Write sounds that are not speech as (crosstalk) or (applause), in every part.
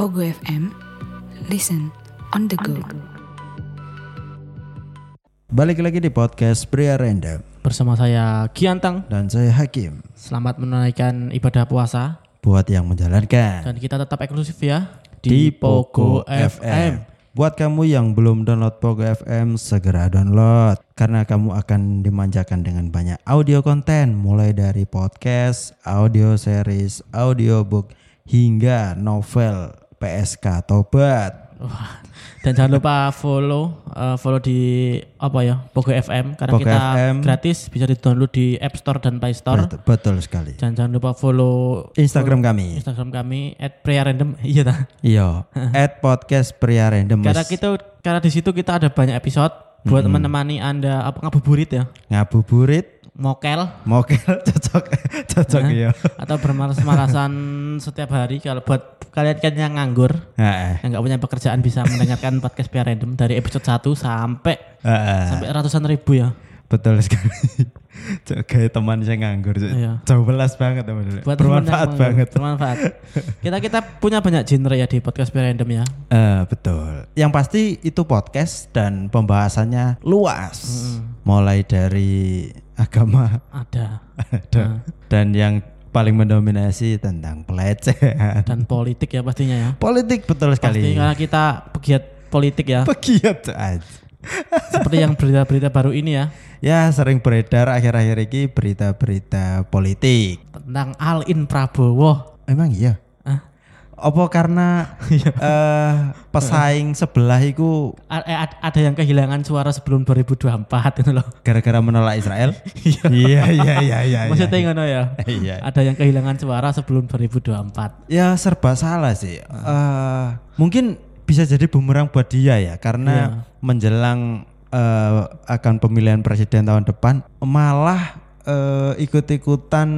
Ogo FM. Listen on the go. Balik lagi di podcast Pria Random Bersama saya Giantang. dan saya Hakim. Selamat menunaikan ibadah puasa Buat yang menjalankan dan kita tetap eksklusif ya Buat kamu yang belum download Pogo FM, segera download karena kamu akan dimanjakan dengan banyak audio konten mulai dari podcast, audio series, audiobook hingga novel PSK Tobat. Wah. Dan jangan lupa follow eh, follow di apa ya Pogo FM karena Pogo kita FM. gratis bisa di download di App Store dan Play Store. Bet- Betul sekali. Dan jangan lupa follow Instagram kami. Instagram kami @priarandom. (laughs) Iya ta. Iya, at podcast Pria Random. Karena kita karena di situ kita ada banyak episode buat menemani Anda apa ngabuburit ya, Ngabuburit, mokel mokel (laughs) cocok cocok ya. atau bermalas-malasan setiap hari kalau buat kalian kan yang nganggur Heeh. yang nggak punya pekerjaan bisa mendengarkan podcast Pia Random dari episode 1 sampai Heeh. sampai ratusan ribu ya. Betul sekali. (laughs) Cok, kayak teman saya nganggur. Cok. Iya. Jauh belas banget teman. Buat ya. Bermanfaat teman-teman, banget. Bermanfaat. Kita kita punya banyak genre ya di podcast Pia Random ya. Eh, betul. Yang pasti itu podcast dan pembahasannya luas. Mulai dari agama (laughs) Ada dan, dan yang paling mendominasi tentang pelecehan. dan politik ya pastinya ya. Politik betul Pasti sekali. karena kita pegiat politik ya. Pegiat Cok, aja. Seperti yang berita-berita baru ini ya Ya sering beredar akhir-akhir ini berita-berita politik. tentang Alin Prabowo. Emang iya. Hah? Apa (laughs) karena eh pesaing sebelah itu A- eh, ad- ada yang kehilangan suara sebelum 2024 itu gitu loh. gara-gara menolak Israel? (laughs) Iya iya iya iya. Maksudnya iya. ngono ya. Iya. Ada yang kehilangan suara sebelum 2024. Ya serba salah sih. Eh mungkin bisa jadi bumerang buat dia ya karena menjelang eh, akan pemilihan presiden tahun depan malah eh, ikut-ikutan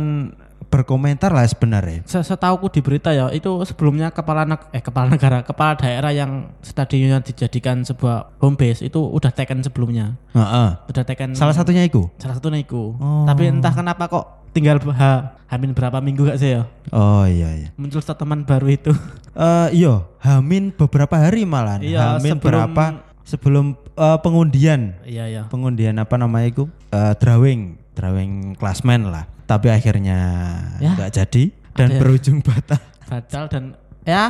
berkomentar lah sebenarnya. Se- Setauku di berita ya itu sebelumnya kepala neg- eh kepala negara kepala daerah yang stadionnya dijadikan sebuah home base itu udah taken sebelumnya Heeh. udah taken Salah satunya itu. salah Oh. satu niku tapi entah kenapa kok tinggal ha, hamin berapa minggu gak sih ya Oh iya iya. muncul teman baru itu Eh iya, Hamin beberapa hari malah. Iya, Hamin sebelum- berapa sebelum eh, pengundian. (laughs) iya iya Pengundian apa namanya itu? Eh, drawing, drawing klasmen lah. Tapi akhirnya Ya. nggak jadi dan Ada ya. berujung batal. (laughs) batal dan ya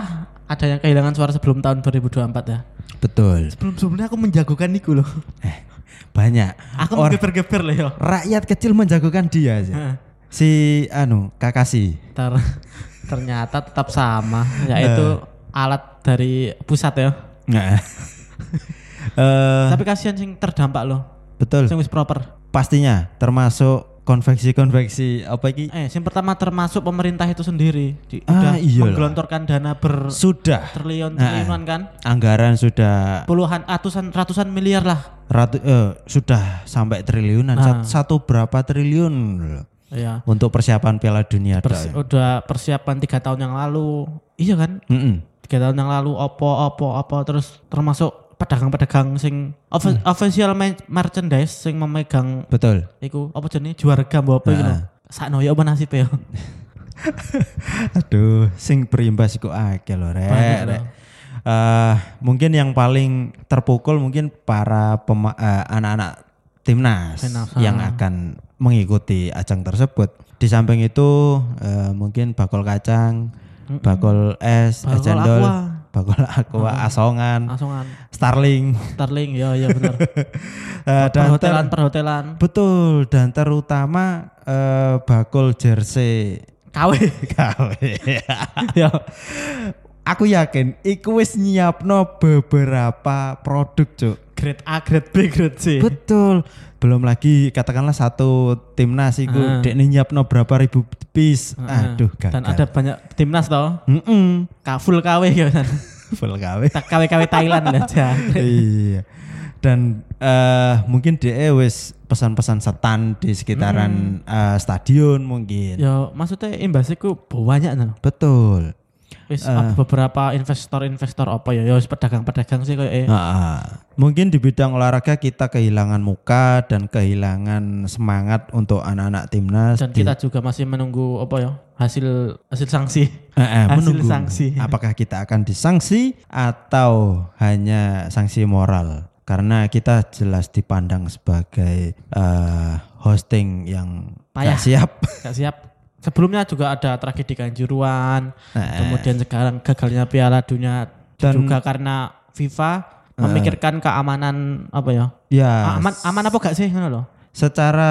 ada yang kehilangan suara sebelum tahun 2024 ya Betul. sebelum sebelumnya aku menjagokan niku loh Eh, Banyak. aku Or- geber-geber loh (laughs) ya rakyat kecil menjagokan dia aja. Heeh. Si anu, Kakasi. Ter- (laughs) ternyata tetap sama Eh. yaitu alat dari pusat ya Nah. (laughs) Eh, tapi kasihan sing terdampak loh betul. sing wis proper Pastinya termasuk konveksi-konveksi apa iki? eh sing pertama termasuk pemerintah itu sendiri Di- Ah, Eh. udah iyalah. menggelontorkan dana ber Sudah triliun triliunan kan anggaran sudah puluhan ratusan ratusan miliar lah ratu eh, sudah sampai triliunan Ah. Sat- satu berapa triliun loh. ya untuk persiapan Piala Dunia ya? Persi- dok. udah persiapan tiga tahun yang lalu iya kan Mm-mm. tiga tahun yang lalu opo opo opo terus termasuk pedagang-pedagang sing off- Hmm. official ma- merchandise sing memegang betul iku apa jenenge juarga mbok apa Nah. iku lho. Sakno ya apa (laughs) nasibe ya. aduh sing berimbas iku akeh lho rek, Banyak, rek. Eh, mungkin yang paling terpukul mungkin para pema- eh, anak-anak timnas Timnas, ah. yang akan mengikuti ajang tersebut di samping itu eh, mungkin bakul kacang bakul es es Bakul cendol aqua. Ah. bakul aqua asongan Langsungan starling Starling ya ya bener. Eh, (laughs) dan ter- perhotelan perhotelan. Betul dan terutama eh, bakul jersey (laughs) KW. KW. ya. Aku yakin iku wis nyiapno beberapa produk, Cuk. Grade A, grade B, grade C. Betul. Belum lagi katakanlah satu timnas iku Heeh. dekne nyiapno berapa ribu piece. Heeh. Aduh, gagal. Ah. Dan ada banyak timnas toh. Mm-mm. Ka full KW ya (laughs) kan. (laughs) Full KW. Ta- KW-KW Thailand ya, aja. iya. Dan eh, mungkin DE wis pesan-pesan setan di Hmm. sekitaran eh, stadion mungkin. Ya maksudnya imbasnya ku banyak nah. Betul. wis beberapa investor-investor apa ya ya wis pedagang-pedagang sih kayak eh. Ah, mungkin di bidang olahraga kita kehilangan muka dan kehilangan semangat untuk anak-anak timnas. dan di- kita juga masih menunggu apa ya hasil hasil sanksi Eh, eh, hasil menunggu sanksi. (laughs) apakah kita akan disanksi atau hanya sanksi moral? Karena kita jelas dipandang sebagai eh, hosting yang Payah. nggak siap. (laughs) Gak siap sebelumnya juga ada tragedi kanjuruan Eh, kemudian sekarang gagalnya Piala Dunia Dan- Eh. juga karena FIFA memikirkan keamanan apa ya ya, aman aman apa gak sih ngono loh secara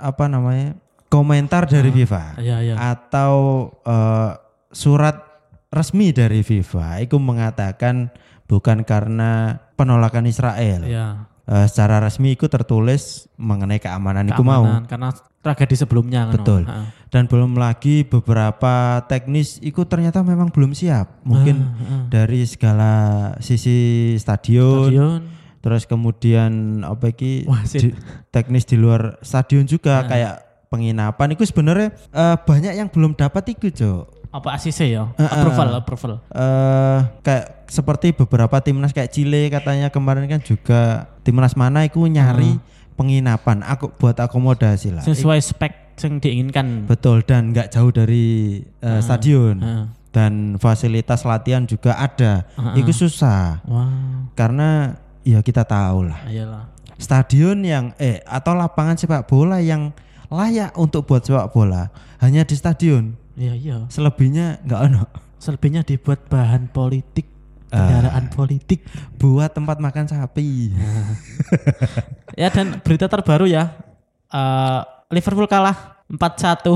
apa namanya komentar dari FIFA iya iya atau eh, surat resmi dari FIFA itu mengatakan bukan karena penolakan Israel. iya Eh, secara resmi itu tertulis mengenai keamanan, itu mau Keamanan, karena tragedi sebelumnya ngono. Betul. Heeh. dan belum lagi beberapa teknis itu ternyata memang belum siap mungkin Ah. dari segala sisi stadion, Stadion. terus kemudian apa iki Wasit. Ah. di- teknis di luar stadion juga kayak penginapan itu sebenarnya eh, banyak yang belum dapat itu Cok. apa ACC ya approval approval eh kayak seperti beberapa timnas kayak Chile katanya kemarin kan juga timnas mana itu nyari penginapan aku buat akomodasi lah sesuai spek yang diinginkan betul dan nggak jauh dari eh, stadion Heeh. dan fasilitas latihan juga ada itu susah wow karena ya kita tahu lah ayolah stadion yang eh atau lapangan sepak bola yang layak untuk buat sepak bola hanya di stadion iya iya selebihnya nggak ono selebihnya dibuat bahan politik Eh. kendaraan politik buat tempat makan sapi ya dan berita terbaru ya eh, Liverpool kalah 4-1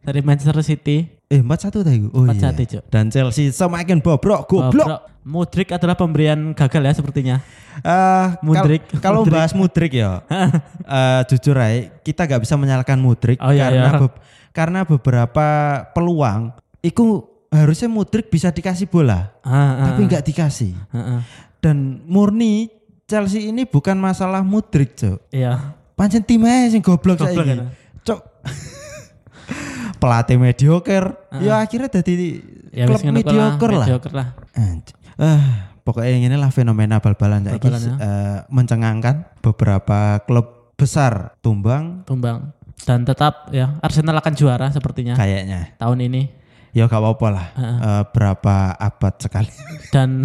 dari Manchester City Eh, 4-1 tadi. Oh 4-1, iya. Cuk. Dan Chelsea semakin bobrok, goblok. Bobrok. Mudrik adalah pemberian gagal ya sepertinya Eh, kal- Mudrik. Kalau Mudrik. bahas Mudrik (laughs) ya. eh, jujur aja, kita nggak bisa menyalahkan Mudrik Oh, iya, karena iya. be- karena beberapa peluang itu harusnya Mudrik bisa dikasih bola, Ah, ah, tapi nggak dikasih. ah, ah. Dan murni Chelsea ini bukan masalah Mudrik, Cuk. iya Pancen timnya sing goblok Goblok, saiki. kan? Cuk. (laughs) pelatih mediocre, ya akhirnya jadi Ah, ya wis klub ngono kuwi mediocre lah. mediocre lah Anj- Ah, pokoknya ini lah fenomena bal-balan saiki, Bal-balan ya. eh, mencengangkan beberapa klub besar tumbang tumbang dan tetap ya Arsenal akan juara sepertinya kayaknya. tahun ini Ya gak apa-apa lah. Eh, berapa abad (laughs) sekali. dan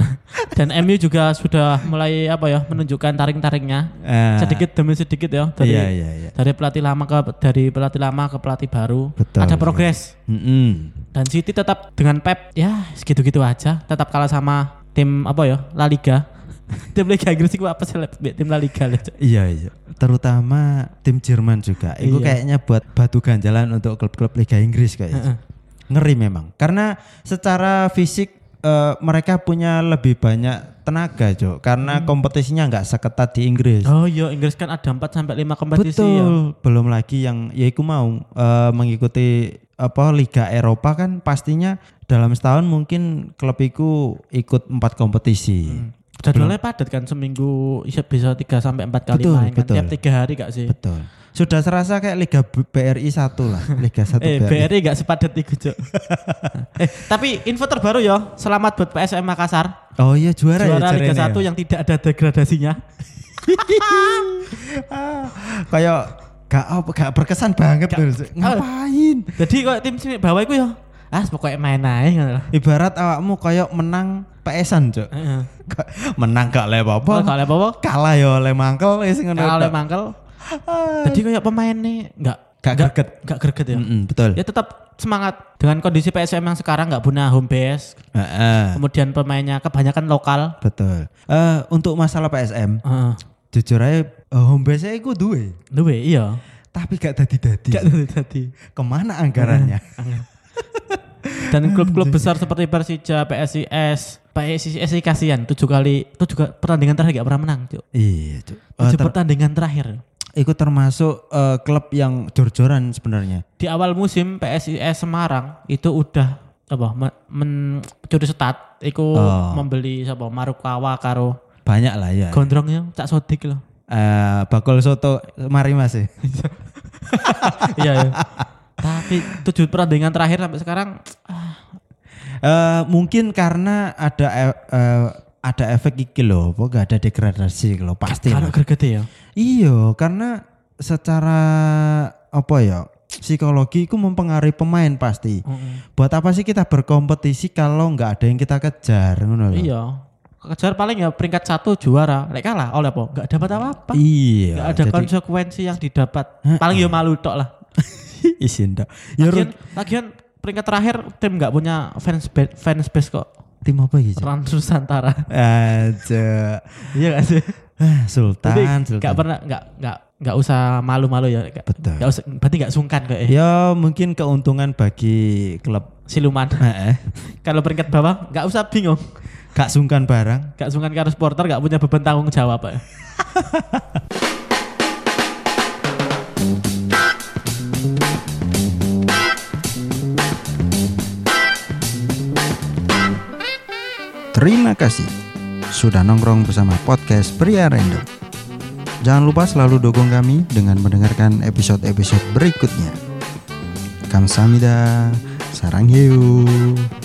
dan MU juga sudah mulai apa ya menunjukkan taring-taringnya Eh, sedikit demi sedikit ya dari Iya, iya, iya. dari pelatih lama ke dari pelatih lama ke pelatih baru Betul. ada progres Mm-mm. dan City tetap dengan Pep ya segitu-gitu aja tetap kalah sama tim apa ya La Liga (laughs) tim Liga Inggris itu apa sih Lep? tim La Liga Lep. Iya, iya. Terutama tim Jerman juga. Itu Iya. kayaknya buat batu ganjalan untuk klub-klub Liga Inggris kayaknya. Ngeri memang. Karena secara fisik eh, mereka punya lebih banyak tenaga, Jo. Karena Hmm. kompetisinya nggak seketat di Inggris. oh iya Inggris kan ada 4 sampai 5 kompetisi Betul, ya belum lagi yang yaiku mau eh, mengikuti apa Liga Eropa kan pastinya dalam setahun mungkin klub iku ikut empat kompetisi. Hmm, jadwalnya padat kan seminggu bisa bisa 3 sampai 4 kali Betul, main kan. betul. tiap 3 hari gak sih Betul. Sudah serasa kayak Liga B- BRI 1 (laughs) lah, Liga 1 Eh, BRI. BRI gak sepadat itu, (laughs) Cok. eh, tapi info terbaru ya, selamat buat PSM Makassar. Oh iya juara, ya Juara Liga jarene 1 ya. yang tidak ada (laughs) degradasinya. Ah, (laughs) kayak gak apa gak berkesan banget Gak- loh. Ngapain? Jadi kok tim sini bawah itu ya, ah pokoknya main aja ngono lah. Ibarat awakmu kayak menang PS-an, Cuk. Heeh. Ka- (laughs) menang gak oleh Kalau apa-apa. gak oleh apa-apa, Kalah ya oleh mangkel wis ngono. kalau oleh tok. mangkel. Ah. Kan Jadi kayak pemain nih enggak Gak greget. Enggak greget ya. (laughs) Mm-mm, betul. Ya tetap semangat dengan kondisi PSM yang sekarang nggak punya home base, Heeh, kemudian pemainnya kebanyakan lokal. betul. Eh untuk masalah PSM, Heeh. jujur aja eh, home base nya iku duwe, Luwe iya. tapi gak dadi-dadi. Hmm. Gak dari tadi. Kemana anggarannya? (laughs) dan klub-klub besar seperti Persija, PSIS, PSIS ini kasihan tujuh kali tujuh kali- pertandingan terakhir gak pernah menang Cuk. iya, Cuk. Eh, tujuh ter- pertandingan terakhir iku termasuk eh, klub yang jor-joran sebenarnya. di awal musim PSIS Semarang itu udah apa me- mencuri setat itu Oh. membeli siapa Marukawa karo Banyak lah ya. gondrongnya Cak Sodik loh Eh, bakul soto mari Mas. ya. iya iya. tapi tujuh pertandingan terakhir sampai sekarang ah, Eh, mungkin karena ada e- eh, ada efek iki loh, apa gak ada degradasi loh pasti. loh. Kalau gregete ya. Iya, karena secara apa ya? Psikologi itu mempengaruhi pemain pasti. Heeh. Buat apa sih kita berkompetisi kalau nggak ada yang kita kejar, ngono loh. Iya. Kejar paling ya peringkat satu juara. Lek kalah oleh apa? Enggak dapat apa-apa. Iya. Enggak ada jadi- konsekuensi yang didapat. Paling ya malu tok lah. (laughs) Isin dah. Ya, Lagian, lagian peringkat terakhir tim nggak punya fans ba- fans base kok. tim apa gitu? Trans Nusantara. (laughs) Aja. Ah, iya gak sih? Berarti Sultan, Sultan. nggak pernah nggak nggak nggak usah malu-malu ya. Nggak- Betul. nggak usah berarti nggak sungkan kok ya. Ya mungkin keuntungan bagi klub Siluman. Heeh. (laughs) Kalau peringkat bawah nggak usah bingung. Kak sungkan barang. Nggak sungkan karena supporter nggak punya beban tanggung jawab ya. Terima kasih sudah nongkrong bersama podcast Pria Random. Jangan lupa selalu dukung kami dengan mendengarkan episode-episode berikutnya. Kamsahamnida, sarang hiu.